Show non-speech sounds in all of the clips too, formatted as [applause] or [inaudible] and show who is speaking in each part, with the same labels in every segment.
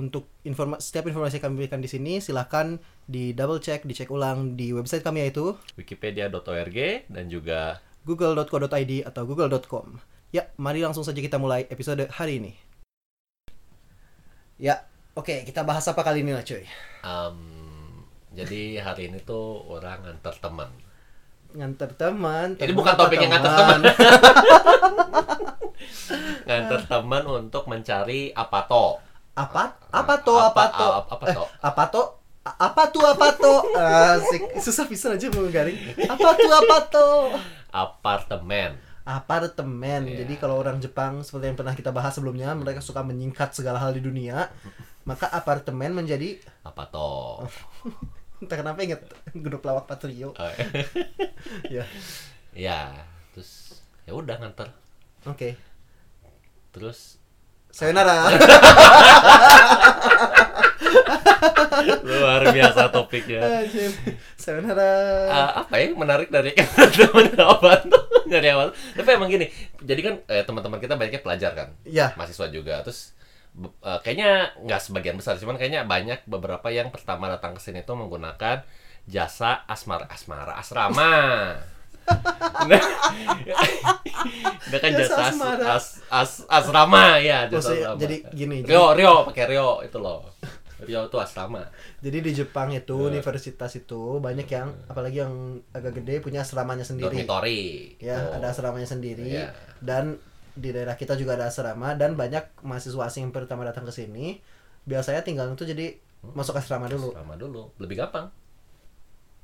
Speaker 1: untuk informa setiap informasi yang kami berikan di sini silahkan di double check, dicek ulang di website kami yaitu
Speaker 2: Wikipedia.org dan juga
Speaker 1: google.co.id atau google.com. Ya, mari langsung saja kita mulai episode hari ini. Ya, oke, kita bahas apa kali ini lah, cuy?
Speaker 2: um, jadi hari ini tuh orang antar teman.
Speaker 1: Nganter teman.
Speaker 2: Ini
Speaker 1: teman
Speaker 2: bukan
Speaker 1: apa
Speaker 2: topik yang nganter teman. Ngantar teman untuk mencari apa toh?
Speaker 1: Apa? Apa to? Apa to?
Speaker 2: Apa, apa toh?
Speaker 1: Apa to? A- Apa tuh apa to? Asik, susah pisan aja mau garing. Apa tuh apa to?
Speaker 2: Apartemen.
Speaker 1: Apartemen.
Speaker 2: Iya.
Speaker 1: Jadi kalau orang Jepang seperti yang pernah kita bahas sebelumnya, mereka suka menyingkat segala hal di dunia. Maka apartemen menjadi [laughs]
Speaker 2: Apa toh?
Speaker 1: entah kenapa inget grup lawak Patrio.
Speaker 2: Eh,
Speaker 1: ya
Speaker 2: ya, terus ya udah nganter.
Speaker 1: oke
Speaker 2: Terus [laughs]
Speaker 1: [laughs] sayonara
Speaker 2: luar biasa topiknya.
Speaker 1: Anjir. sayonara
Speaker 2: Eh, apa ya yang menarik dari [laughs] teman apa tuh dari awal tapi emang gini jadi kan eh, teman-teman kita banyaknya pelajar kan
Speaker 1: ya
Speaker 2: mahasiswa juga terus be- eh, kayaknya nggak sebagian besar cuman kayaknya banyak beberapa yang pertama datang ke sini tuh menggunakan jasa asmara asmara
Speaker 1: [laughs]
Speaker 2: asrama nah, dia kan
Speaker 1: Jasa
Speaker 2: jasa, as-
Speaker 1: asmara.
Speaker 2: as- as- asrama ya jasa
Speaker 1: Maksudnya,
Speaker 2: asrama.
Speaker 1: jadi gini,
Speaker 2: Rio Rio pakai Rio itu loh Rio itu asrama
Speaker 1: jadi di Jepang itu
Speaker 2: Iya.
Speaker 1: universitas itu banyak yang apalagi yang agak gede punya asramanya sendiri
Speaker 2: dormitory
Speaker 1: ya
Speaker 2: Oh.
Speaker 1: ada asramanya sendiri
Speaker 2: Iya.
Speaker 1: dan di daerah kita juga ada asrama dan banyak mahasiswa asing yang pertama datang ke sini biasanya tinggal itu jadi masuk asrama dulu
Speaker 2: Asrama dulu, lebih gampang.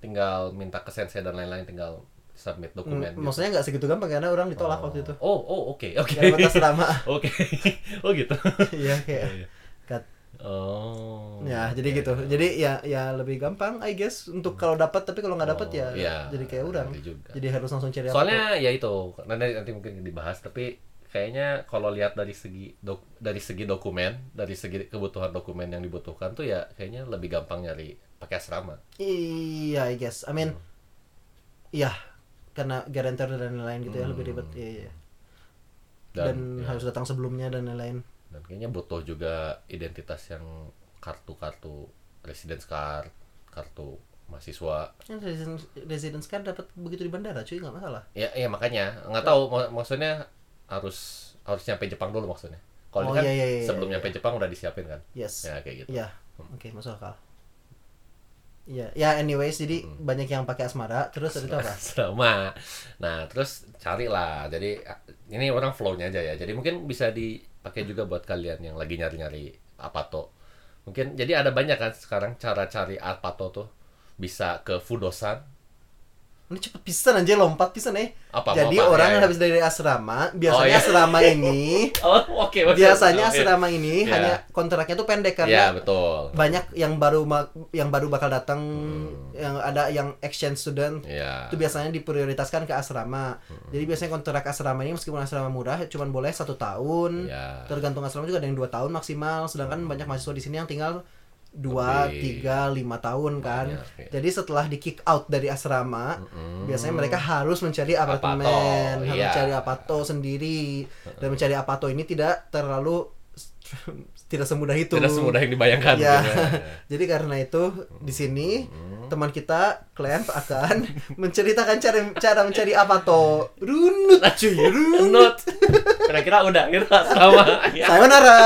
Speaker 2: Tinggal minta ke sensei dan lain-lain, tinggal submit dokumen.
Speaker 1: M-
Speaker 2: gitu.
Speaker 1: Hmm, maksudnya nggak segitu gampang karena orang ditolak
Speaker 2: Oh.
Speaker 1: waktu
Speaker 2: [laughs]
Speaker 1: itu
Speaker 2: Oh, oh, oke, oke.
Speaker 1: karena buat asrama
Speaker 2: [laughs]
Speaker 1: [laughs]
Speaker 2: Oke. Oh, gitu.
Speaker 1: iya kayak
Speaker 2: Iya, iya.
Speaker 1: kat-
Speaker 2: Oh.
Speaker 1: Ya, jadi gitu. Jadi ya ya lebih gampang I guess untuk kalau dapat tapi kalau nggak dapat
Speaker 2: Hmm. Oh,
Speaker 1: ya
Speaker 2: iya.
Speaker 1: jadi kayak orang.
Speaker 2: Iya juga.
Speaker 1: Jadi harus langsung cari apa.
Speaker 2: Soalnya ya itu, nanti nanti mungkin dibahas tapi kayaknya kalau lihat dari segi dok- dari segi dokumen, dari segi kebutuhan dokumen yang dibutuhkan tuh ya kayaknya lebih gampang nyari pakai asrama.
Speaker 1: Iya, I guess. I mean iya karena garantor dan lain-lain gitu ya lebih ribet.
Speaker 2: Hmm.
Speaker 1: Iya, iya. Dan,
Speaker 2: ya,
Speaker 1: harus datang sebelumnya dan lain-lain.
Speaker 2: dan kayaknya butuh juga identitas yang kartu-kartu residence card, kartu mahasiswa.
Speaker 1: Kan residence, residence card dapat begitu di bandara, cuy, nggak masalah.
Speaker 2: Ya, ya makanya nggak tahu mak- maksudnya harus harus nyampe Jepang dulu maksudnya.
Speaker 1: Oh,
Speaker 2: Kalau ini kan
Speaker 1: iya, iya, iya,
Speaker 2: sebelum
Speaker 1: iya.
Speaker 2: nyampe Jepang udah disiapin kan?
Speaker 1: Yes.
Speaker 2: Ya kayak gitu.
Speaker 1: Iya. Oke, masuk akal. Iya, ya anyways jadi
Speaker 2: Hmm.
Speaker 1: banyak yang pakai asmara, terus itu
Speaker 2: [laughs]
Speaker 1: apa?
Speaker 2: Sama. Nah, terus carilah. Jadi ini orang flow-nya aja ya. Jadi mungkin bisa dipakai juga buat kalian yang lagi nyari-nyari apato. Mungkin jadi ada banyak kan sekarang cara cari apato tuh. Bisa ke Fudosan,
Speaker 1: Ini cepet pisan aja lompat pisan eh.
Speaker 2: Apa,
Speaker 1: Jadi
Speaker 2: mau apa?
Speaker 1: orang
Speaker 2: Ya,
Speaker 1: yang
Speaker 2: ya.
Speaker 1: habis dari asrama, biasanya
Speaker 2: iya.
Speaker 1: asrama ini
Speaker 2: [laughs] Oh, oke. oke.
Speaker 1: biasanya ya.
Speaker 2: Oke.
Speaker 1: asrama ini
Speaker 2: Iya.
Speaker 1: hanya kontraknya tuh pendek
Speaker 2: Iya,
Speaker 1: karena
Speaker 2: betul.
Speaker 1: banyak yang baru ma- yang baru bakal datang yang ada yang exchange student
Speaker 2: Hmm. Iya. Hmm.
Speaker 1: itu biasanya diprioritaskan ke asrama. Jadi biasanya kontrak asrama ini meskipun asrama murah cuman boleh satu tahun.
Speaker 2: Iya. Hmm.
Speaker 1: Tergantung asrama juga ada yang dua tahun maksimal. Sedangkan banyak mahasiswa di sini yang tinggal dua,
Speaker 2: Lebih.
Speaker 1: tiga, lima tahun kan.
Speaker 2: Banyak, Hmm. ya.
Speaker 1: Jadi setelah di kick out dari asrama,
Speaker 2: Mm-mm.
Speaker 1: biasanya mereka harus mencari apartemen,
Speaker 2: Apato,
Speaker 1: harus
Speaker 2: iya.
Speaker 1: mencari apato sendiri. Dan mencari apato ini tidak terlalu [laughs] tidak semudah itu.
Speaker 2: Tidak semudah yang dibayangkan.
Speaker 1: Ya.
Speaker 2: gitu ya.
Speaker 1: [laughs]
Speaker 2: Hmm.
Speaker 1: Jadi karena itu di sini teman kita Clamp akan [laughs] menceritakan cara cara mencari apato. Runut cuy,
Speaker 2: [laughs]
Speaker 1: runut.
Speaker 2: Not. Kira-kira udah kita [laughs] sama. Ya.
Speaker 1: Sayonara.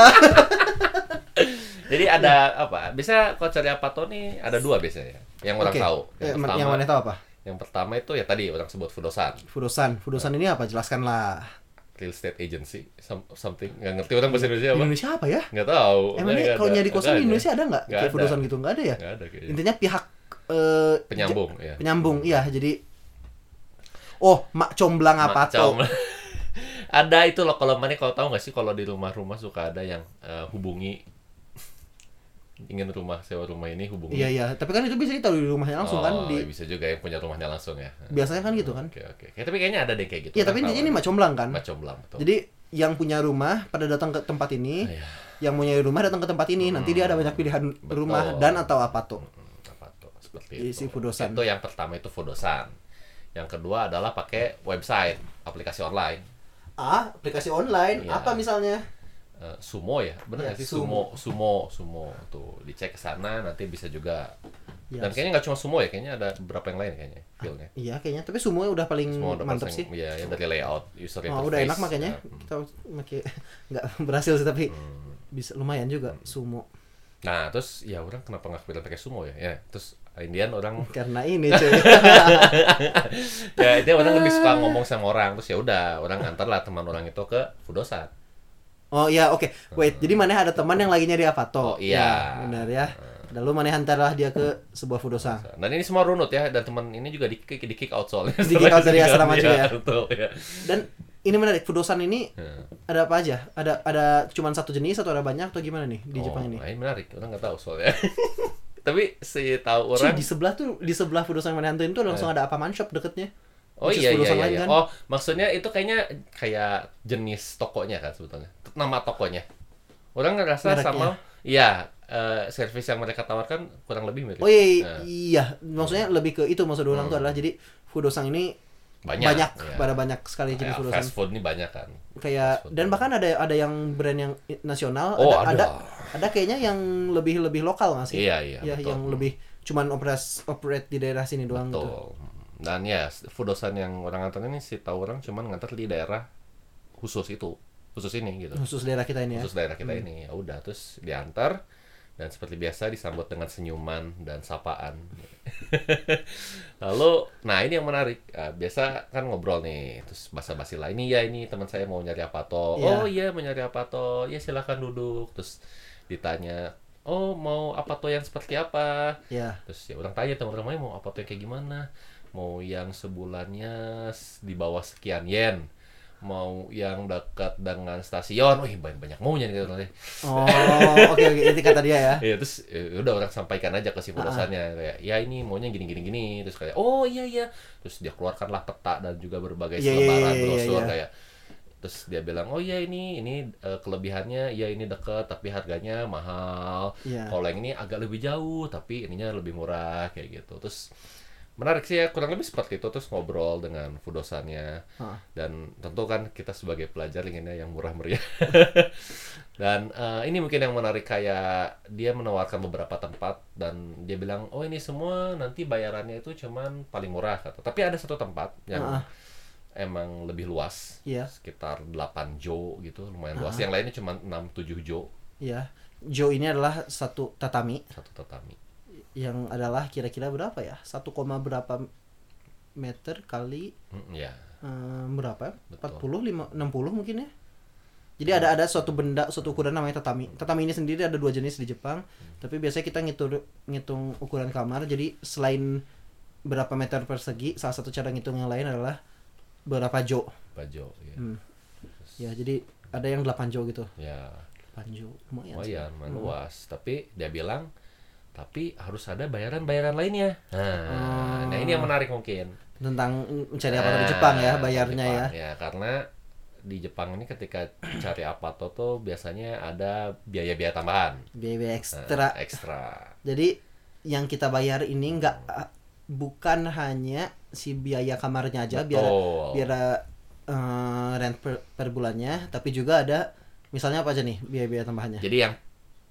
Speaker 2: Jadi ada apa? Biasanya kalau cari apato nih ada dua biasanya. Yang orang
Speaker 1: Oke.
Speaker 2: tahu.
Speaker 1: Eh,
Speaker 2: Yang
Speaker 1: men-
Speaker 2: pertama,
Speaker 1: Yang
Speaker 2: yang,
Speaker 1: mana tahu apa?
Speaker 2: pertama itu ya tadi orang sebut Fudosan,
Speaker 1: Fudosan. Fudosan ini apa? Jelaskanlah.
Speaker 2: real estate agency, Some- something nggak ngerti orang bahasa Indonesia
Speaker 1: Di
Speaker 2: apa?
Speaker 1: Indonesia apa ya?
Speaker 2: Nggak tahu.
Speaker 1: Emangnya kalau nyari kosan di Indonesia ada nggak?
Speaker 2: Nggak
Speaker 1: Kayak
Speaker 2: ada.
Speaker 1: Fudosan gitu nggak ada ya?
Speaker 2: Nggak ada kayaknya.
Speaker 1: Intinya pihak eh,
Speaker 2: Penyambung,
Speaker 1: ja-
Speaker 2: ya.
Speaker 1: Penyambung, iya. Jadi Oh, mak comblang apa
Speaker 2: Macam.
Speaker 1: tuh?
Speaker 2: [laughs] ada itu loh kalau mana kalau tahu nggak sih kalau di rumah-rumah suka ada yang eh, hubungi [laughs] ingin rumah sewa rumah ini hubungi
Speaker 1: Iya iya, tapi kan itu bisa ditaruh di rumahnya langsung kan
Speaker 2: Oh,
Speaker 1: di
Speaker 2: bisa juga yang punya rumahnya langsung ya
Speaker 1: biasanya kan gitu kan.
Speaker 2: oke oke Kayak- tapi kayaknya ada deh kayak gitu
Speaker 1: Iya, tapi intinya ini macomblang kan.
Speaker 2: macam belang betul
Speaker 1: Jadi yang punya rumah pada datang ke tempat ini,
Speaker 2: Iya. Hmm,
Speaker 1: yang mau nyari rumah datang ke tempat ini. Nanti dia ada banyak pilihan
Speaker 2: Betul.
Speaker 1: rumah dan atau apa tuh.
Speaker 2: Hmm, apa tuh seperti
Speaker 1: Isi
Speaker 2: itu
Speaker 1: fudosan.
Speaker 2: itu yang pertama itu fudosan yang kedua adalah pakai website aplikasi online
Speaker 1: Ah, aplikasi online
Speaker 2: Iya.
Speaker 1: apa misalnya?
Speaker 2: Eh, sumo ya
Speaker 1: Iya,
Speaker 2: bener nggak sih sumo sumo sumo tuh dicek ke sana nanti bisa juga
Speaker 1: Iya.
Speaker 2: dan kayaknya nggak cuma sumo ya kayaknya ada beberapa yang lain kayaknya feelnya
Speaker 1: Iya, kayaknya tapi semuanya udah paling
Speaker 2: semua udah
Speaker 1: mantep
Speaker 2: pasang-
Speaker 1: sih.
Speaker 2: Iya, ya, dari layout user Nah,
Speaker 1: Oh, udah enak
Speaker 2: ya.
Speaker 1: makanya. Kita pakai [laughs] nggak berhasil sih tapi
Speaker 2: Hmm.
Speaker 1: bisa lumayan juga sumo.
Speaker 2: Nah, terus ya orang kenapa nggak kepikiran pakai sumo ya? Ya, terus Indian orang [laughs]
Speaker 1: Karena ini cuy.
Speaker 2: ya dia orang lebih suka ngomong sama orang terus ya udah orang antar lah teman orang itu ke Fudosan.
Speaker 1: Oh iya, oke. Wait, jadi mana ada teman yang lagi nyari apa
Speaker 2: Oh,
Speaker 1: toh?
Speaker 2: iya. Hmm.
Speaker 1: benar ya. Lalu mana hantarlah dia ke sebuah fudosan.
Speaker 2: Dan ini semua runut ya dan teman ini juga di, di, kick out soalnya.
Speaker 1: Di kick out dari asrama juga ya.
Speaker 2: Betul ya.
Speaker 1: Dan ini menarik, fudosan ini
Speaker 2: Hmm.
Speaker 1: ada apa aja? Ada ada cuman satu jenis atau ada banyak atau gimana nih di
Speaker 2: Oh,
Speaker 1: Jepang ini?
Speaker 2: Nah, ini menarik, orang nggak tahu soalnya. [laughs] Tapi si
Speaker 1: Cuy,
Speaker 2: tahu orang Eh.
Speaker 1: di sebelah tuh di sebelah fudosan yang mana hantuin tuh langsung ada apa shop deketnya.
Speaker 2: Oh
Speaker 1: Which is
Speaker 2: iya iya
Speaker 1: fudosan
Speaker 2: iya.
Speaker 1: lain
Speaker 2: iya.
Speaker 1: kan?
Speaker 2: Oh, maksudnya itu kayaknya kayak jenis tokonya kan sebetulnya. Nama tokonya. Orang ngerasa
Speaker 1: Mereknya.
Speaker 2: sama iya, eh, service yang mereka tawarkan kurang lebih mirip.
Speaker 1: Oh iya, iya,
Speaker 2: Nah.
Speaker 1: iya. maksudnya lebih ke itu maksud orang
Speaker 2: Hmm.
Speaker 1: tuh adalah jadi fudosan ini
Speaker 2: Banyak,
Speaker 1: banyak
Speaker 2: iya.
Speaker 1: pada banyak sekali
Speaker 2: Kayak
Speaker 1: jenis fudosan.
Speaker 2: fast food ini banyak kan.
Speaker 1: kayak
Speaker 2: Fast food.
Speaker 1: dan bahkan ada ada yang brand yang i- nasional ada,
Speaker 2: Oh, ada.
Speaker 1: ada ada kayaknya yang lebih lebih lokal nggak sih
Speaker 2: Iya, iya,
Speaker 1: ya
Speaker 2: betul.
Speaker 1: yang lebih cuman operas operate di daerah sini doang gitu
Speaker 2: Betul. Dan ya, fudosan yang orang nganter ini si tahu orang cuman nganter di daerah khusus itu, khusus ini gitu.
Speaker 1: khusus daerah kita ini ya
Speaker 2: Khusus daerah kita ini. Ya udah terus diantar dan seperti biasa disambut dengan senyuman dan sapaan. [laughs] Lalu, nah ini yang menarik. Eh, biasa kan ngobrol nih, terus basa-basi lah. Ini ya ini teman saya mau nyari apa toh?
Speaker 1: Iya.
Speaker 2: Oh iya mau nyari apa toh? Ya silahkan duduk. Terus ditanya, oh mau apa toh yang seperti apa?
Speaker 1: ya
Speaker 2: terus ya orang tanya teman-temannya mau apa tuh yang kayak gimana mau yang sebulannya s- di bawah sekian yen mau yang dekat dengan stasiun wih banyak banyak maunya
Speaker 1: [laughs]
Speaker 2: nih orang
Speaker 1: oh oke oke itu kata dia
Speaker 2: [laughs]
Speaker 1: ya
Speaker 2: ya terus ya udah orang sampaikan aja ke si fudosannya. kayak ya ini maunya gini gini gini terus kayak oh iya iya terus dia keluarkanlah peta dan juga berbagai
Speaker 1: Iya, iya,
Speaker 2: selebaran
Speaker 1: iya, iya,
Speaker 2: brosur
Speaker 1: iya.
Speaker 2: kayak terus dia bilang oh iya ini ini eh, kelebihannya ya ini dekat tapi harganya mahal
Speaker 1: Iya.
Speaker 2: kalau yang ini agak lebih jauh tapi ininya lebih murah kayak gitu terus menarik sih ya kurang lebih seperti itu terus ngobrol dengan fudosannya
Speaker 1: Heeh.
Speaker 2: dan tentu kan kita sebagai pelajar inginnya yang murah meriah [laughs] dan eh, ini mungkin yang menarik kayak dia menawarkan beberapa tempat dan dia bilang oh ini semua nanti bayarannya itu cuman paling murah kata tapi ada satu tempat yang
Speaker 1: Ah.
Speaker 2: emang lebih luas
Speaker 1: Iya.
Speaker 2: sekitar 8 jo gitu lumayan luas yang lainnya cuma 6 7 jo
Speaker 1: ya Joe ini adalah satu tatami
Speaker 2: satu tatami
Speaker 1: yang adalah kira-kira berapa ya 1, koma berapa meter kali
Speaker 2: Mm, ya
Speaker 1: eh, berapa
Speaker 2: Betul.
Speaker 1: 40
Speaker 2: Iya.
Speaker 1: lima- 60 mungkin ya jadi ada ada suatu benda suatu ukuran namanya tatami tatami ini sendiri ada dua jenis di Jepang
Speaker 2: Hmm.
Speaker 1: tapi biasanya kita ngitung ngitung ukuran kamar jadi selain berapa meter persegi salah satu cara ngitung yang lain adalah berapa jo
Speaker 2: bajo ya.
Speaker 1: Hmm. ya jadi ada yang 8 jo gitu
Speaker 2: ya
Speaker 1: 8 jo lumayan sih. Hmm.
Speaker 2: lumayan lumayan luas tapi dia bilang tapi harus ada bayaran-bayaran lainnya nah, nah ini yang menarik mungkin
Speaker 1: tentang mencari Oh. apa di
Speaker 2: Nah,
Speaker 1: Jepang ya
Speaker 2: di
Speaker 1: bayarnya ya
Speaker 2: Jepang, karena di Jepang ini ketika cari apato tuh biasanya ada biaya-biaya tambahan
Speaker 1: biaya
Speaker 2: Nah,
Speaker 1: ekstra
Speaker 2: ekstra
Speaker 1: Jadi yang kita bayar ini nggak ah, bukan hanya si biaya kamarnya aja biar
Speaker 2: Betul.
Speaker 1: biar eh, rent per, per bulannya, tapi juga ada misalnya apa aja nih biaya-biaya tambahannya.
Speaker 2: jadi yang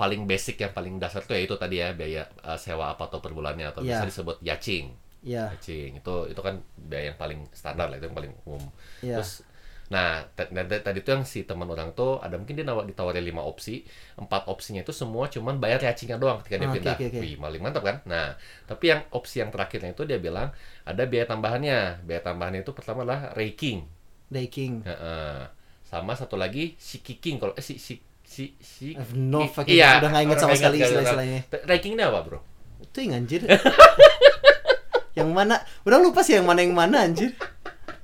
Speaker 2: paling basic yang paling dasar tuh ya itu tadi ya biaya eh, sewa apato per bulannya atau
Speaker 1: Iya.
Speaker 2: bisa disebut yaching
Speaker 1: Ya,
Speaker 2: Cacing itu itu kan biaya yang paling standar lah itu yang paling umum.
Speaker 1: Iya.
Speaker 2: Terus nah t- t- t- tadi tuh yang si teman orang tuh ada mungkin dia nawar ditawarin lima opsi, empat opsinya itu semua cuman bayar cacingnya doang ketika
Speaker 1: Ah,
Speaker 2: dia
Speaker 1: oke,
Speaker 2: pindah.
Speaker 1: oke, oke.
Speaker 2: Wih, paling mantap kan? Nah, tapi yang opsi yang terakhirnya itu dia bilang ada biaya tambahannya. Biaya tambahannya itu pertama adalah raking. Ya.
Speaker 1: daking.
Speaker 2: Heeh. Sama satu lagi shikiking kalau eh si si si si
Speaker 1: I have no
Speaker 2: i-
Speaker 1: fucking- udah nggak ingat
Speaker 2: orang
Speaker 1: sama
Speaker 2: nggak
Speaker 1: sekali
Speaker 2: nggak ingat.
Speaker 1: istilah-istilahnya.
Speaker 2: Raking ini apa, Bro?
Speaker 1: Itu yang anjir. [laughs] yang mana? Udah lupa sih yang mana yang mana anjir.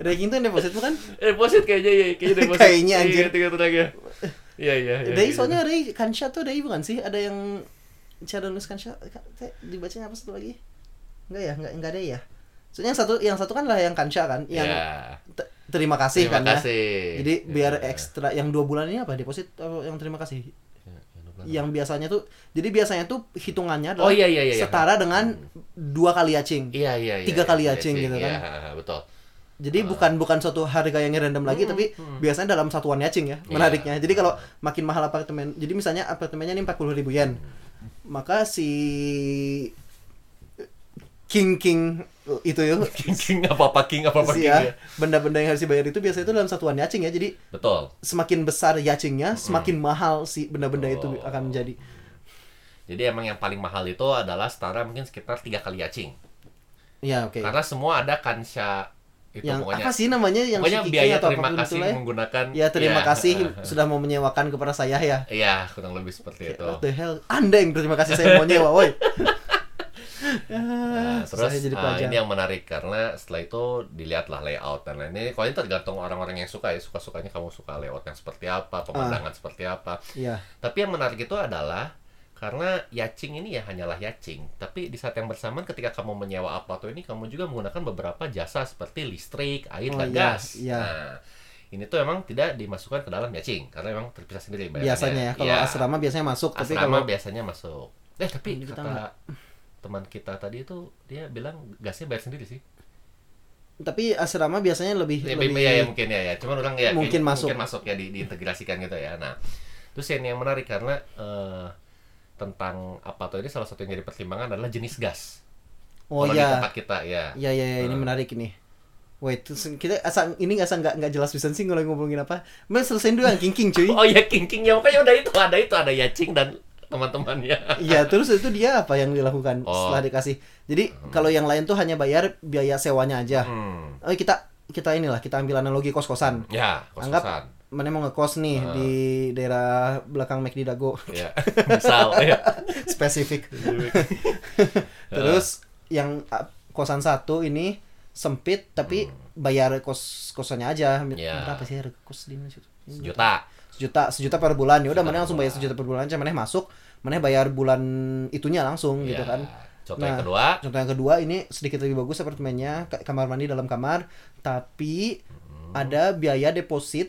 Speaker 1: Daking itu yang deposit bukan?
Speaker 2: Eh, deposit kayaknya ya,
Speaker 1: [laughs]
Speaker 2: kayaknya deposit.
Speaker 1: Kayaknya, anjir.
Speaker 2: Iya, tiga tenaga. Iya, iya, iya.
Speaker 1: Dai
Speaker 2: iya.
Speaker 1: soalnya Dai Kansha tuh Dai bukan sih? Ada yang cara nulis kansha teh, dibacanya apa satu lagi enggak ya enggak enggak ada ya soalnya yang satu yang satu kan lah yang kansha kan yang
Speaker 2: Ya.
Speaker 1: te- terima kasih kan
Speaker 2: Terima
Speaker 1: ya
Speaker 2: kasih.
Speaker 1: jadi biar
Speaker 2: Ya.
Speaker 1: ekstra yang dua bulan ini apa deposit atau yang terima kasih
Speaker 2: Ya, yang dua bulan.
Speaker 1: yang biasanya tuh jadi biasanya tuh hitungannya adalah
Speaker 2: Oh, iya, iya, iya, iya.
Speaker 1: setara dengan dua kali acing
Speaker 2: Iya iya iya.
Speaker 1: tiga kali
Speaker 2: iya,
Speaker 1: acing gitu kan.
Speaker 2: Iya, betul. [laughs] Ah.
Speaker 1: jadi bukan bukan suatu harga yang random lagi
Speaker 2: Hmm,
Speaker 1: tapi biasanya dalam satuan acing ya
Speaker 2: Iya.
Speaker 1: menariknya jadi kalau makin mahal apartemen jadi misalnya apartemennya ini 40.000 ribu yen
Speaker 2: Hmm.
Speaker 1: maka si king king itu
Speaker 2: [laughs]
Speaker 1: ya
Speaker 2: King king apa apa king apa apa
Speaker 1: si
Speaker 2: king ya.
Speaker 1: ya benda-benda yang harus dibayar itu biasanya itu dalam satuan yacing ya jadi
Speaker 2: Betul.
Speaker 1: semakin besar yacingnya semakin mahal si benda-benda itu
Speaker 2: Hmm. Oh.
Speaker 1: akan menjadi
Speaker 2: Jadi emang yang paling mahal itu adalah setara mungkin sekitar tiga kali acing.
Speaker 1: ya oke
Speaker 2: Karena semua ada kansya itu
Speaker 1: yang
Speaker 2: Gitu, pokoknya.
Speaker 1: apa sih namanya yang
Speaker 2: pokoknya
Speaker 1: si Kiki
Speaker 2: biaya
Speaker 1: atau
Speaker 2: terima
Speaker 1: apapun
Speaker 2: kasih Iya.
Speaker 1: itulah ya.
Speaker 2: menggunakan
Speaker 1: ya terima kasih sudah mau menyewakan kepada saya ya
Speaker 2: [laughs] Iya, kurang lebih seperti itu.
Speaker 1: What the hell? Anda yang terima kasih saya mau nyewa, woi.
Speaker 2: [laughs] Nah,
Speaker 1: Ya,
Speaker 2: terus
Speaker 1: saya jadi
Speaker 2: ah,
Speaker 1: pelajar.
Speaker 2: ini yang menarik karena setelah itu dilihatlah layout dan lain-lain. Kalau ini tergantung orang-orang yang suka ya, suka-sukanya kamu suka layout yang seperti
Speaker 1: Ah.
Speaker 2: apa, pemandangan seperti apa.
Speaker 1: Iya.
Speaker 2: Tapi yang menarik itu adalah karena yacing ini ya hanyalah yacing, tapi di saat yang bersamaan ketika kamu menyewa apart ini kamu juga menggunakan beberapa jasa seperti listrik, air,
Speaker 1: Oh,
Speaker 2: dan
Speaker 1: iya,
Speaker 2: gas.
Speaker 1: iya.
Speaker 2: Nah, ini tuh emang tidak dimasukkan ke dalam yacing karena memang terpisah sendiri bayarannya.
Speaker 1: Biasanya ya kalau
Speaker 2: Iya,
Speaker 1: asrama biasanya masuk, tapi
Speaker 2: asrama
Speaker 1: kalau
Speaker 2: biasanya masuk. Eh, tapi
Speaker 1: Kita
Speaker 2: kata
Speaker 1: nggak.
Speaker 2: teman kita tadi itu dia bilang gasnya bayar sendiri sih.
Speaker 1: tapi asrama biasanya lebih
Speaker 2: Ya,
Speaker 1: Iya, lebih
Speaker 2: ya, ya, mungkin ya ya. Cuman orang ya
Speaker 1: Mungkin masuk.
Speaker 2: mungkin masuk ya di, diintegrasikan gitu ya. Nah, terus yang yang menarik karena eh, tentang apa tuh ini salah satu yang jadi pertimbangan adalah jenis gas.
Speaker 1: Oh
Speaker 2: Kalau di
Speaker 1: iya.
Speaker 2: tempat kita ya.
Speaker 1: Iya iya iya, ini menarik ini. Wait, terus kita asa ini nggak asa nggak nggak jelas pisan sih kalau ngomongin apa. Mending selesain dulu yang kingking cuy.
Speaker 2: Oh ya kingking ya makanya udah itu ada itu ada Yacing dan teman-temannya.
Speaker 1: Iya, terus itu dia apa yang dilakukan
Speaker 2: Oh.
Speaker 1: setelah dikasih. Jadi kalau yang lain tuh hanya bayar biaya sewanya aja.
Speaker 2: Hmm.
Speaker 1: Oh, kita kita inilah kita ambil analogi kos-kosan.
Speaker 2: Ya,
Speaker 1: Anggap
Speaker 2: kos-kosan.
Speaker 1: mana mau ngekos nih
Speaker 2: Hmm.
Speaker 1: di daerah belakang McD Dago [laughs]
Speaker 2: Ya, misal ya. [laughs]
Speaker 1: spesifik.
Speaker 2: Iya,
Speaker 1: [laughs] Terus yang ah, kosan satu ini sempit tapi
Speaker 2: Hmm.
Speaker 1: bayar kos kosannya aja
Speaker 2: Ya.
Speaker 1: berapa sih harga kos di Indonesia?
Speaker 2: Sejuta.
Speaker 1: sejuta sejuta per bulan ya udah
Speaker 2: Sejuta
Speaker 1: mana
Speaker 2: per
Speaker 1: langsung bayar
Speaker 2: bulan.
Speaker 1: sejuta per bulan aja mana masuk mana bayar bulan itunya langsung gitu
Speaker 2: Ya.
Speaker 1: kan
Speaker 2: Contoh
Speaker 1: Nah,
Speaker 2: yang kedua.
Speaker 1: contoh yang kedua ini sedikit lebih bagus apartemennya ka- kamar mandi dalam kamar tapi
Speaker 2: Hmm.
Speaker 1: ada biaya deposit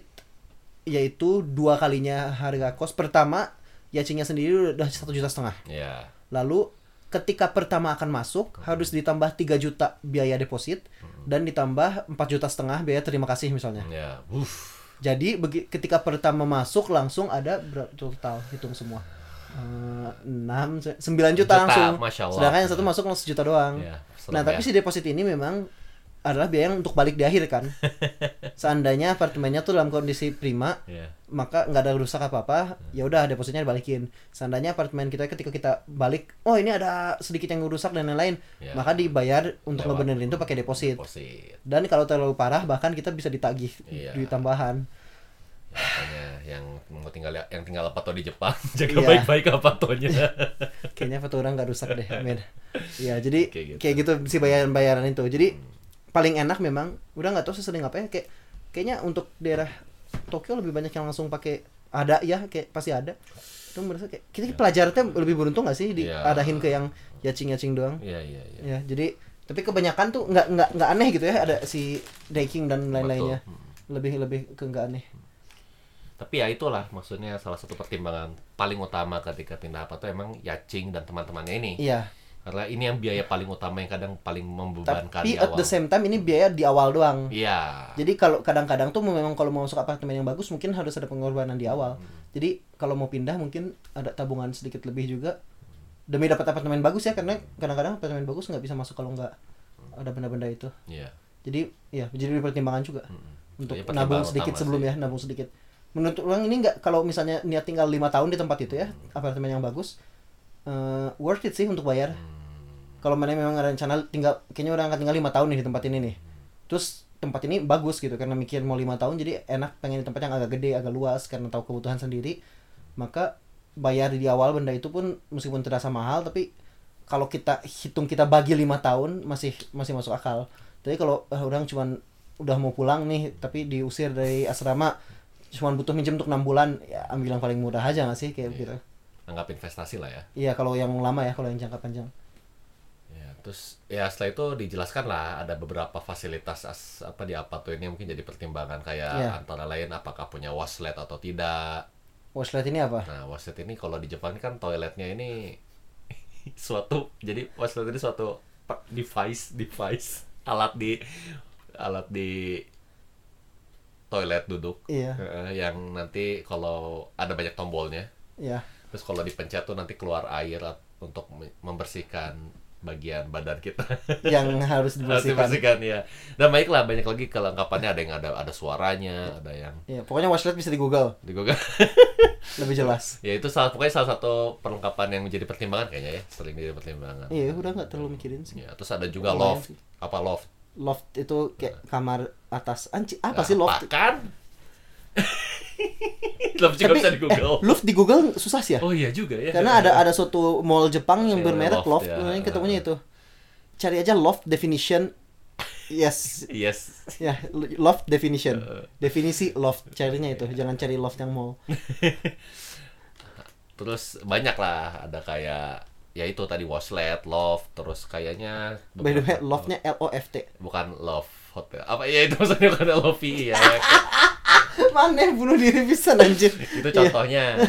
Speaker 1: yaitu dua kalinya harga kos pertama yacingnya sendiri udah satu juta setengah
Speaker 2: Ya.
Speaker 1: lalu ketika pertama akan masuk
Speaker 2: Hmm.
Speaker 1: harus ditambah 3 juta biaya deposit dan ditambah 4 juta setengah biaya terima kasih misalnya
Speaker 2: Ya. Uff.
Speaker 1: jadi begi- ketika pertama masuk langsung ada berapa total hitung semua. Eh, enam, se- sembilan juta,
Speaker 2: Juta,
Speaker 1: langsung.
Speaker 2: Masya Allah.
Speaker 1: Sedangkan yang satu masuk langsung sejuta doang.
Speaker 2: Ya, serem
Speaker 1: nah, tapi
Speaker 2: ya.
Speaker 1: si deposit ini memang adalah biaya yang untuk balik di akhir
Speaker 2: [laughs]
Speaker 1: kan. Seandainya apartemennya tuh dalam kondisi prima,
Speaker 2: Ya.
Speaker 1: maka nggak ada rusak apa-apa, ya udah depositnya dibalikin. Seandainya apartemen kita ketika kita balik, oh ini ada sedikit yang rusak dan lain-lain,
Speaker 2: Ya.
Speaker 1: maka dibayar untuk
Speaker 2: Lewat.
Speaker 1: ngebenerin itu pakai deposit.
Speaker 2: Deposit.
Speaker 1: Dan kalau terlalu parah bahkan kita bisa ditagih
Speaker 2: Iya.
Speaker 1: duit tambahan.
Speaker 2: Makanya yang mau tinggal ya, yang tinggal Apato di Jepang [laughs] jaga
Speaker 1: Iya.
Speaker 2: baik-baik Apatonya.
Speaker 1: [laughs] kayaknya foto orang nggak rusak deh men
Speaker 2: [laughs]
Speaker 1: ya jadi
Speaker 2: Kayak
Speaker 1: kayak
Speaker 2: gitu.
Speaker 1: gitu, si bayaran bayaran itu jadi paling enak memang udah nggak tahu sesering apa ya kayak kayaknya untuk daerah Tokyo lebih banyak yang langsung pakai ada ya kayak pasti ada itu merasa kayak kita pelajar tuh lebih beruntung gak sih
Speaker 2: Iya.
Speaker 1: diadahin ke yang yacing yacing doang
Speaker 2: Iya iya iya.
Speaker 1: ya jadi tapi kebanyakan tuh nggak nggak nggak aneh gitu ya ada si daking dan lain-lainnya
Speaker 2: Betul. Hmm.
Speaker 1: lebih lebih ke nggak aneh
Speaker 2: Tapi ya itulah maksudnya salah satu pertimbangan paling utama ketika pindah Apato emang Yacing dan teman-temannya ini.
Speaker 1: iya
Speaker 2: Karena ini yang biaya paling utama yang kadang paling membebankan
Speaker 1: tapi
Speaker 2: di
Speaker 1: at
Speaker 2: awal.
Speaker 1: the same time ini biaya di awal doang
Speaker 2: Iya.
Speaker 1: Jadi kalau kadang-kadang tuh memang kalau mau masuk apartemen yang bagus mungkin harus ada pengorbanan di awal.
Speaker 2: Hmm.
Speaker 1: Jadi kalau mau pindah mungkin ada tabungan sedikit lebih juga demi dapat apartemen bagus ya karena kadang-kadang apartemen bagus nggak bisa masuk kalau nggak ada benda-benda itu.
Speaker 2: Iya.
Speaker 1: Jadi ya jadi pertimbangan juga untuk
Speaker 2: Jadi Hmm. Iya, pertimbangan
Speaker 1: nabung
Speaker 2: utama
Speaker 1: sedikit sebelum
Speaker 2: sih.
Speaker 1: ya nabung sedikit. Menurut orang ini nggak kalau misalnya niat tinggal lima tahun di tempat itu ya
Speaker 2: Hmm.
Speaker 1: apartemen yang bagus eh, worth it sih untuk bayar
Speaker 2: Hmm.
Speaker 1: kalau mana memang rencana tinggal kayaknya orang akan tinggal lima tahun nih di tempat ini nih terus tempat ini bagus gitu karena mikir mau lima tahun jadi enak pengen di tempat yang agak gede agak luas karena tahu kebutuhan sendiri maka bayar di awal benda itu pun meskipun terasa mahal tapi kalau kita hitung kita bagi lima tahun masih masih masuk akal tapi kalau ah, orang cuman udah mau pulang nih tapi diusir dari asrama cuman butuh minjem untuk enam bulan ya ambil yang paling murah aja gak sih kayak gitu
Speaker 2: anggap investasi lah ya.
Speaker 1: Iya kalau yang lama ya, kalau yang jangka panjang.
Speaker 2: Ya, terus ya setelah itu dijelaskan lah ada beberapa fasilitas as- apa di apa tuh ini mungkin jadi pertimbangan kayak
Speaker 1: Iya.
Speaker 2: antara lain apakah punya washlet atau tidak.
Speaker 1: Washlet ini apa?
Speaker 2: Nah, washlet ini kalau di Jepang kan toiletnya ini suatu jadi washlet ini suatu pe- device device alat di alat di toilet duduk
Speaker 1: Iya.
Speaker 2: Eh, yang nanti kalau ada banyak tombolnya
Speaker 1: Iya.
Speaker 2: terus kalau dipencet tuh nanti keluar air at- untuk me- membersihkan bagian badan kita [laughs]
Speaker 1: Yang harus
Speaker 2: Harus
Speaker 1: dibersihkan.
Speaker 2: dibersihkan ya dan baiklah banyak lagi kelengkapannya ada yang ada ada suaranya ada yang
Speaker 1: Iya, pokoknya washlet bisa di Google,
Speaker 2: di Google
Speaker 1: lebih jelas.
Speaker 2: ya itu salah pokoknya salah satu perlengkapan yang menjadi pertimbangan kayaknya ya sering jadi pertimbangan
Speaker 1: Iya, udah nggak terlalu mikirin sih.
Speaker 2: ya terus ada juga
Speaker 1: Lumayan
Speaker 2: loft
Speaker 1: sih.
Speaker 2: apa loft
Speaker 1: Loft itu kayak kamar atas. Anci, apa
Speaker 2: Nah,
Speaker 1: sih loft?
Speaker 2: kan [laughs] loft juga bisa di
Speaker 1: [laughs]
Speaker 2: Google
Speaker 1: eh, loft di Google susah sih ya.
Speaker 2: oh iya juga ya
Speaker 1: Karena ada ada suatu mall Jepang yang
Speaker 2: Iya,
Speaker 1: bermerek loft,
Speaker 2: loft, ya.
Speaker 1: namanya ketemunya itu. Cari aja loft
Speaker 2: [laughs]
Speaker 1: definition. Yes,
Speaker 2: yes
Speaker 1: ya loft definition.
Speaker 2: Eh.
Speaker 1: Definisi loft carinya itu, jangan cari loft yang
Speaker 2: [laughs]
Speaker 1: mall.
Speaker 2: terus banyak lah ada kayak ya itu tadi washlet loft terus kayaknya
Speaker 1: By the way,
Speaker 2: beberapa-
Speaker 1: loftnya L O F T.
Speaker 2: bukan love hotel apa ya itu maksudnya bukan love
Speaker 1: [laughs]
Speaker 2: ya
Speaker 1: Mana yang bunuh diri bisa anjir.
Speaker 2: [laughs] itu
Speaker 1: Iya.
Speaker 2: contohnya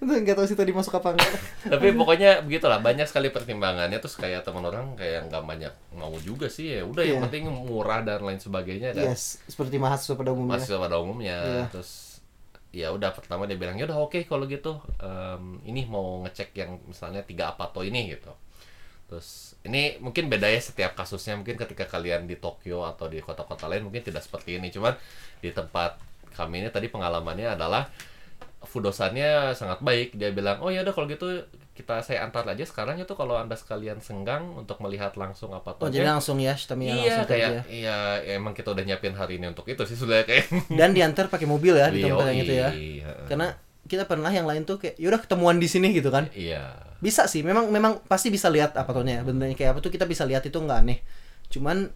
Speaker 1: Itu nggak tahu sih tadi masuk apa enggak.
Speaker 2: tapi pokoknya begitulah banyak sekali pertimbangannya terus kayak teman orang kayak nggak banyak mau juga sih ya udah yang
Speaker 1: Iya.
Speaker 2: penting murah dan lain sebagainya kan
Speaker 1: Yes, seperti mahasiswa pada umumnya.
Speaker 2: mahasiswa pada umumnya
Speaker 1: Iya.
Speaker 2: terus ya udah pertama dia bilang ya udah oke kalau gitu em, ini mau ngecek yang misalnya tiga apato ini gitu terus ini mungkin beda ya setiap kasusnya mungkin ketika kalian di Tokyo atau di kota-kota lain mungkin tidak seperti ini cuman di tempat kami ini tadi pengalamannya adalah Fudosannya sangat baik dia bilang oh ya udah kalau gitu kita saya antar aja sekarang itu kalau anda sekalian senggang untuk melihat langsung apa
Speaker 1: Oh, jadi langsung ya, Stamina
Speaker 2: iya
Speaker 1: langsung kerja.
Speaker 2: kayak iya ya, emang kita udah nyiapin hari ini untuk itu sih sudah kayak
Speaker 1: Dan diantar pakai mobil ya di
Speaker 2: Iya,
Speaker 1: tempat yang itu ya.
Speaker 2: iya.
Speaker 1: Karena kita pernah yang lain tuh kayak yaudah ketemuan di sini gitu kan.
Speaker 2: iya
Speaker 1: Bisa sih, memang memang pasti bisa lihat apa tuhnya. Benernya kayak apa tuh kita bisa lihat itu nggak aneh. Cuman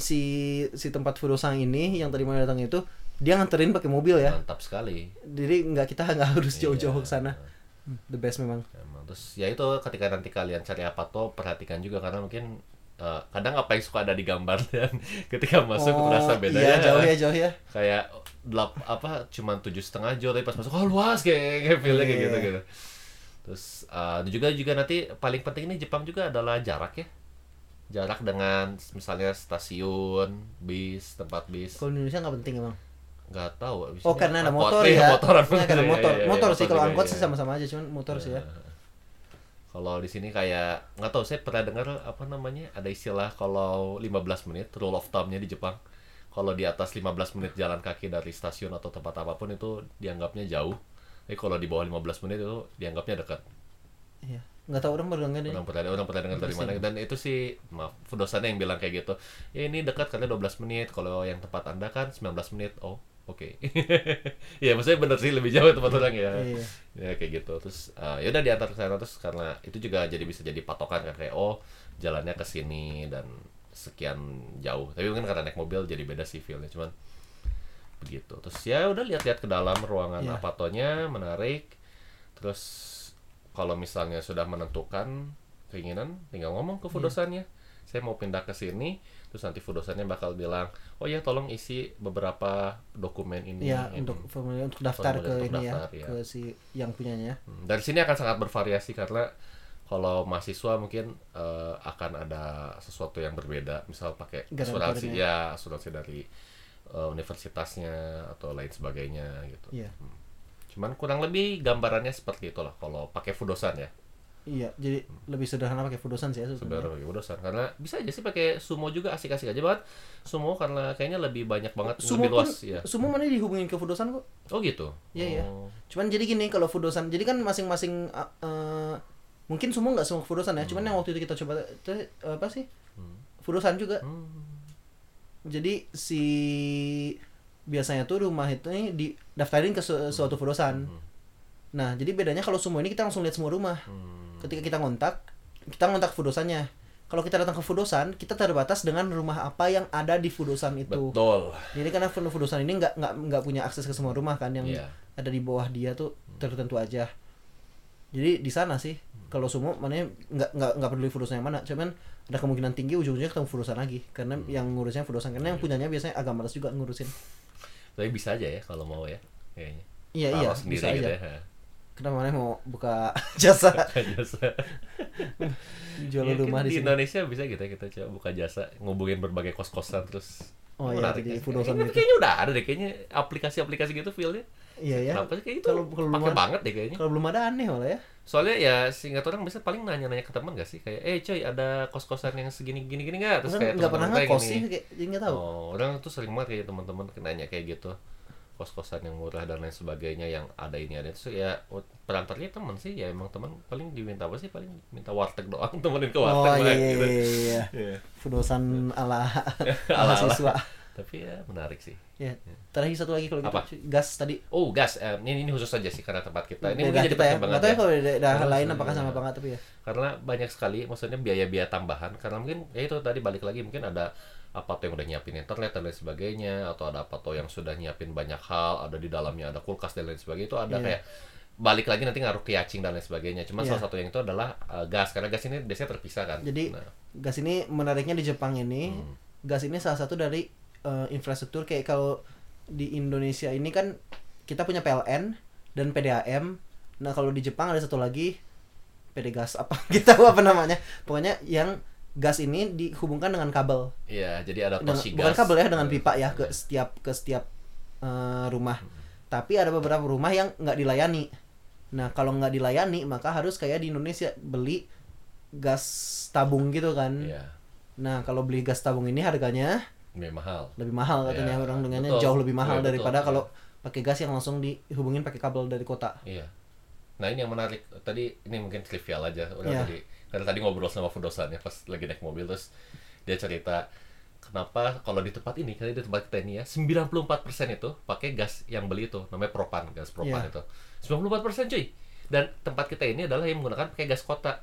Speaker 1: si si tempat Furosang ini yang tadi mau datang itu dia nganterin pakai mobil ya.
Speaker 2: mantap sekali
Speaker 1: Jadi nggak kita nggak [laughs] harus jauh-jauh ke sana.
Speaker 2: Iya.
Speaker 1: Hmm, The best memang.
Speaker 2: emang terus ya itu ketika nanti kalian cari apa tuh perhatikan juga karena mungkin eh, kadang apa yang suka ada di gambar [laughs] dan ketika masuk merasa beda
Speaker 1: Iya, jauh ya, jauh ya.
Speaker 2: kayak delap apa cuman tujuh setengah jauh tapi pas masuk oh luas kayak kayak feelnya kayak
Speaker 1: Iya.
Speaker 2: gitu gitu terus eh, juga juga nanti paling penting ini Jepang juga adalah jarak ya jarak dengan misalnya stasiun bis tempat bis
Speaker 1: Kalau di Indonesia nggak penting emang.
Speaker 2: nggak tahu
Speaker 1: Oh karena ada
Speaker 2: angkot,
Speaker 1: motor
Speaker 2: iya,
Speaker 1: ya.
Speaker 2: motoran
Speaker 1: Iya, karena
Speaker 2: Iya,
Speaker 1: motor.
Speaker 2: iya, iya,
Speaker 1: motor sih
Speaker 2: motor
Speaker 1: kalau
Speaker 2: juga,
Speaker 1: angkot
Speaker 2: iya.
Speaker 1: sih sama-sama aja cuman motor sih ya.
Speaker 2: kalau di sini kayak nggak tahu saya pernah dengar apa namanya ada istilah kalau 15 menit rule of thumbnya di Jepang kalau di atas 15 menit jalan kaki dari stasiun atau tempat apapun itu dianggapnya jauh tapi kalau di bawah 15 menit itu dianggapnya dekat
Speaker 1: Iya. Nggak tahu orang ya. Iya, baru nggak deh.
Speaker 2: orang pernah orang pernah dengar dari mana dan itu sih maaf dosannya yang bilang kayak gitu ya ini dekat karena 12 menit kalau yang tempat anda kan 19 menit oh oke [laughs] ya maksudnya bener sih lebih jauh tempat orang ya
Speaker 1: Iya.
Speaker 2: ya kayak gitu terus eh, ya udah diantar ke sana terus karena itu juga jadi bisa jadi patokan kan kayak oh jalannya ke sini dan sekian jauh tapi mungkin karena naik mobil jadi beda sih feelnya cuman begitu terus ya udah lihat-lihat ke dalam ruangan
Speaker 1: Iya.
Speaker 2: apatonya menarik terus kalau misalnya sudah menentukan keinginan tinggal ngomong
Speaker 1: Iya.
Speaker 2: ke fudosannya saya mau pindah ke sini terus nanti fudosannya bakal bilang oh ya tolong isi beberapa dokumen ini gitu.
Speaker 1: Iya,
Speaker 2: ini."
Speaker 1: untuk formulir untuk daftar ke
Speaker 2: Formulir E untuk
Speaker 1: ini ya,
Speaker 2: daftar, iya.
Speaker 1: ke si yang punyanya.
Speaker 2: Hmm, Dari sini akan sangat bervariasi karena kalau mahasiswa mungkin eh, akan ada sesuatu yang berbeda, misal pakai
Speaker 1: Garantornya.
Speaker 2: asuransi ya, asuransi dari eh, universitasnya atau lain sebagainya gitu.
Speaker 1: Iya.
Speaker 2: Cuman kurang lebih gambarannya seperti itulah kalau pakai fudosan ya.
Speaker 1: Iya, jadi lebih sederhana pakai fudosan sih ya sebenarnya.
Speaker 2: Sebenarnya pakai fudosan karena bisa aja sih pakai sumo juga asik-asik aja banget. Sumo karena kayaknya lebih banyak banget
Speaker 1: Sumo
Speaker 2: lebih
Speaker 1: pun,
Speaker 2: luas ya.
Speaker 1: sumo mana dihubungin ke fudosan kok.
Speaker 2: Oh gitu.
Speaker 1: Iya, iya.
Speaker 2: Oh,
Speaker 1: Cuman jadi gini kalau fudosan, jadi kan masing-masing uh, uh, mungkin semua nggak semua fudosan ya. Cuman
Speaker 2: Hmm.
Speaker 1: yang waktu itu kita coba itu apa sih? Fudosan juga.
Speaker 2: Hmm.
Speaker 1: Jadi si biasanya tuh rumah itu nih didaftarin ke
Speaker 2: Hmm.
Speaker 1: su- suatu fudosan. Nah,
Speaker 2: Hmm.
Speaker 1: jadi bedanya kalau sumo ini kita langsung lihat semua rumah. Ketika kita ngontak, kita ngontak fudosannya. kalau kita datang ke Fudosan kita terbatas dengan rumah apa yang ada di Fudosan itu
Speaker 2: Betul.
Speaker 1: jadi karena Fud- Fudosan ini nggak nggak nggak punya akses ke semua rumah kan yang
Speaker 2: Iya. Hmm.
Speaker 1: ada di bawah dia tuh tertentu aja jadi di sana sih kalau semua mana nggak nggak nggak peduli Fudosan yang mana cuman ada kemungkinan tinggi ujung-ujungnya ketemu Fudosan lagi karena
Speaker 2: Hmm.
Speaker 1: yang ngurusnya Fudosan karena
Speaker 2: Iya.
Speaker 1: yang punyanya biasanya agak males juga ngurusin
Speaker 2: Tapi bisa aja ya kalau mau ya. Kayaknya.
Speaker 1: iya
Speaker 2: Taruh
Speaker 1: iya
Speaker 2: sendiri
Speaker 1: bisa
Speaker 2: gitu
Speaker 1: aja
Speaker 2: ya. [laughs] Ha.
Speaker 1: kenapa mana mau buka [laughs]
Speaker 2: [laughs]
Speaker 1: jasa
Speaker 2: jasa.
Speaker 1: jual
Speaker 2: Iya,
Speaker 1: rumah
Speaker 2: kan
Speaker 1: di sini
Speaker 2: Indonesia bisa gitu ya, kita coba buka jasa ngubungin berbagai kos-kosan terus
Speaker 1: Oh iya,
Speaker 2: Menarik
Speaker 1: jadi
Speaker 2: ya.
Speaker 1: Fudosan
Speaker 2: Ini
Speaker 1: gitu.
Speaker 2: kayaknya udah ada deh kayaknya aplikasi-aplikasi gitu feel-nya.
Speaker 1: iya ya
Speaker 2: Kenapa sih kayak itu?
Speaker 1: Kalau- kalau
Speaker 2: Pakai
Speaker 1: lumayan-
Speaker 2: banget deh kayaknya.
Speaker 1: kalau belum ada aneh malah ya
Speaker 2: Soalnya ya singkat orang biasanya paling nanya-nanya ke teman gak sih kayak eh coy ada kos-kosan yang segini gini gini nggak terus kayak
Speaker 1: Orang Kan nggak pernah
Speaker 2: teman-teman kayak
Speaker 1: ngekos
Speaker 2: gini.
Speaker 1: sih kayak jadi nggak tahu
Speaker 2: Oh, orang tuh sering banget kayak teman-teman nanya kayak gitu kos-kosan yang murah dan lain sebagainya yang ada ini ada itu ya perantarnya teman sih ya emang teman paling diminta apa sih paling minta warteg doang [laughs] temenin ke
Speaker 1: oh iya
Speaker 2: warteg doang,
Speaker 1: iya
Speaker 2: gitu.
Speaker 1: iya, iya
Speaker 2: [laughs] Iya.
Speaker 1: Fudosan ala
Speaker 2: [laughs] Ala-ala.
Speaker 1: mahasiswa
Speaker 2: tapi ya menarik sih
Speaker 1: ya terakhir satu lagi kalau gitu
Speaker 2: Apa?
Speaker 1: cuy. gas tadi
Speaker 2: oh gas eh, ini ini khusus aja sih karena tempat kita Nah,
Speaker 1: daerah
Speaker 2: ini mungkin jadi
Speaker 1: kita ya
Speaker 2: pertimbangan
Speaker 1: nggak tahu ya
Speaker 2: ya.
Speaker 1: kalau di daerah
Speaker 2: Karena
Speaker 1: lain
Speaker 2: sebenarnya- Nah.
Speaker 1: apakah sama apa nggak tapi ya
Speaker 2: karena banyak sekali maksudnya biaya-biaya tambahan karena mungkin ya itu tadi balik lagi mungkin ada apa yang udah nyiapin internet dan lain sebagainya atau ada apa yang sudah nyiapin banyak hal ada di dalamnya ada kulkas dan lain sebagainya itu
Speaker 1: Iya.
Speaker 2: ada kayak balik lagi nanti ngaruh ke yacing dan lain sebagainya cuman
Speaker 1: Iya.
Speaker 2: salah satu yang itu adalah eh, gas karena gas ini biasanya terpisah kan
Speaker 1: Jadi-
Speaker 2: Nah,
Speaker 1: gas ini menariknya di Jepang ini
Speaker 2: Hmm.
Speaker 1: gas ini salah satu dari eh, infrastruktur kayak kalau di Indonesia ini kan kita punya PLN dan PDAM nah kalau di Jepang ada satu lagi PD gas apa [laughs] kita tahu apa namanya pokoknya yang gas ini dihubungkan dengan kabel
Speaker 2: iya jadi ada
Speaker 1: dengan,
Speaker 2: tosi gas Iya.
Speaker 1: bukan kabel ya dengan pipa ya ke setiap ke setiap eh, rumah
Speaker 2: Hmm.
Speaker 1: tapi ada beberapa rumah yang nggak dilayani nah kalau nggak dilayani maka harus kayak di Indonesia beli gas tabung gitu kan
Speaker 2: iya
Speaker 1: nah kalau beli gas tabung ini harganya
Speaker 2: lebih mahal
Speaker 1: lebih mahal katanya
Speaker 2: Iya,
Speaker 1: orang dengannya
Speaker 2: betul.
Speaker 1: jauh lebih mahal
Speaker 2: Iya, betul,
Speaker 1: daripada
Speaker 2: iya.
Speaker 1: kalau pakai gas yang langsung dihubungin pakai kabel dari kota
Speaker 2: Iya. Nah ini yang menarik tadi ini mungkin trivial aja udah
Speaker 1: Iya.
Speaker 2: tadi karena tadi ngobrol sama Fudosan ya pas lagi naik mobil terus dia cerita kenapa kalau di tempat ini kali di tempat kita ini ya 94% itu pakai gas yang beli itu namanya propan gas propan
Speaker 1: Iya.
Speaker 2: itu 94% cuy dan tempat kita ini adalah yang menggunakan pakai gas kota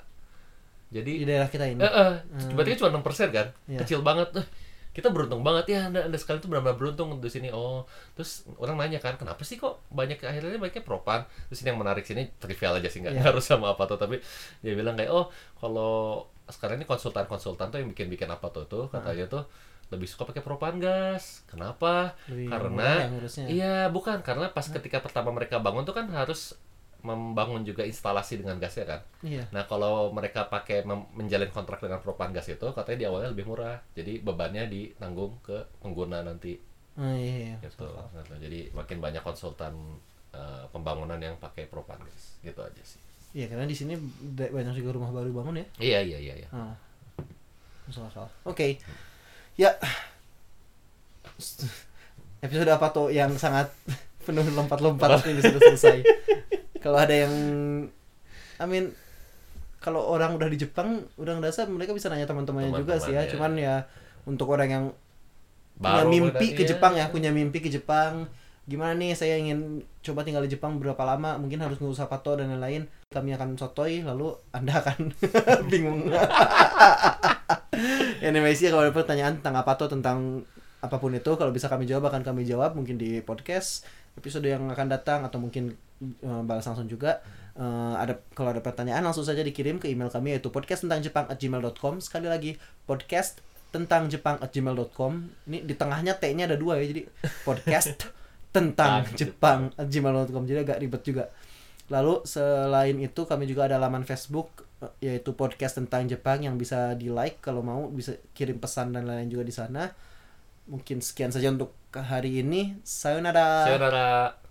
Speaker 1: di
Speaker 2: jadi
Speaker 1: daerah kita ini
Speaker 2: eh, eh, berarti cuma 6% kan
Speaker 1: Hmm. Iya.
Speaker 2: kecil banget Eh, kita beruntung banget ya anda anda sekali itu benar-benar beruntung di sini oh terus orang nanya kan kenapa sih kok banyak akhirnya banyaknya propan terus ini yang menarik sini trivial aja sih nggak
Speaker 1: Iya.
Speaker 2: harus sama apa tuh tapi dia bilang kayak oh kalau sekarang ini konsultan-konsultan tuh yang bikin-bikin apa tuh tuh katanya tuh lebih suka pakai propan gas kenapa
Speaker 1: Lebih murah ya
Speaker 2: karena
Speaker 1: ngurusnya.
Speaker 2: iya bukan karena pas ketika pertama mereka bangun tuh kan harus membangun juga instalasi dengan gasnya kan
Speaker 1: iya
Speaker 2: Nah, kalau mereka pakai mem- menjalin kontrak dengan propan gas itu, katanya di awalnya lebih murah. Jadi bebannya ditanggung ke pengguna nanti
Speaker 1: Ah, iya, iya.
Speaker 2: gitu. Nah, jadi makin banyak konsultan eh, pembangunan yang pakai propan gas. Gitu aja sih.
Speaker 1: Iya, karena di sini da- banyak juga rumah baru bangun ya
Speaker 2: Iya, iya, iya, iya.
Speaker 1: Ah. Masuk akal. Oke. Ya. [laughs] Episode apa tuh yang sangat [laughs] penuh lompat-lompat ini sudah [laughs] selesai. kalau ada yang I mean kalau orang udah di Jepang, udah ngerasa mereka bisa nanya teman-temannya juga sih ya.
Speaker 2: Teman-temannya.
Speaker 1: Cuman ya untuk orang yang punya
Speaker 2: Baru
Speaker 1: mimpi
Speaker 2: berarti
Speaker 1: ke
Speaker 2: ya.
Speaker 1: Jepang ya, punya mimpi ke Jepang. Gimana nih saya ingin coba tinggal di Jepang berapa lama, mungkin harus ngurus apa toh dan lain-lain. Kami akan sotoy lalu Anda akan [laughs] bingung. anyway sih kalau ada pertanyaan tentang apa toh tentang apapun itu kalau bisa kami jawab akan kami jawab mungkin di podcast episode yang akan datang atau mungkin eh, balas langsung juga Eh, ada kalau ada pertanyaan langsung saja dikirim ke email kami yaitu podcast tentang Jepang gmail.com sekali lagi podcast tentang Jepang gmail.com ini di tengahnya T-nya ada dua ya jadi podcast tentang
Speaker 2: Tentang
Speaker 1: Jepang eh, gmail.com jadi agak ribet juga lalu selain itu kami juga ada laman Facebook eh, yaitu podcast tentang Jepang yang bisa di like kalau mau bisa kirim pesan dan lain-lain juga di sana mungkin sekian saja untuk hari ini sayonara
Speaker 2: Iya, Sayonara.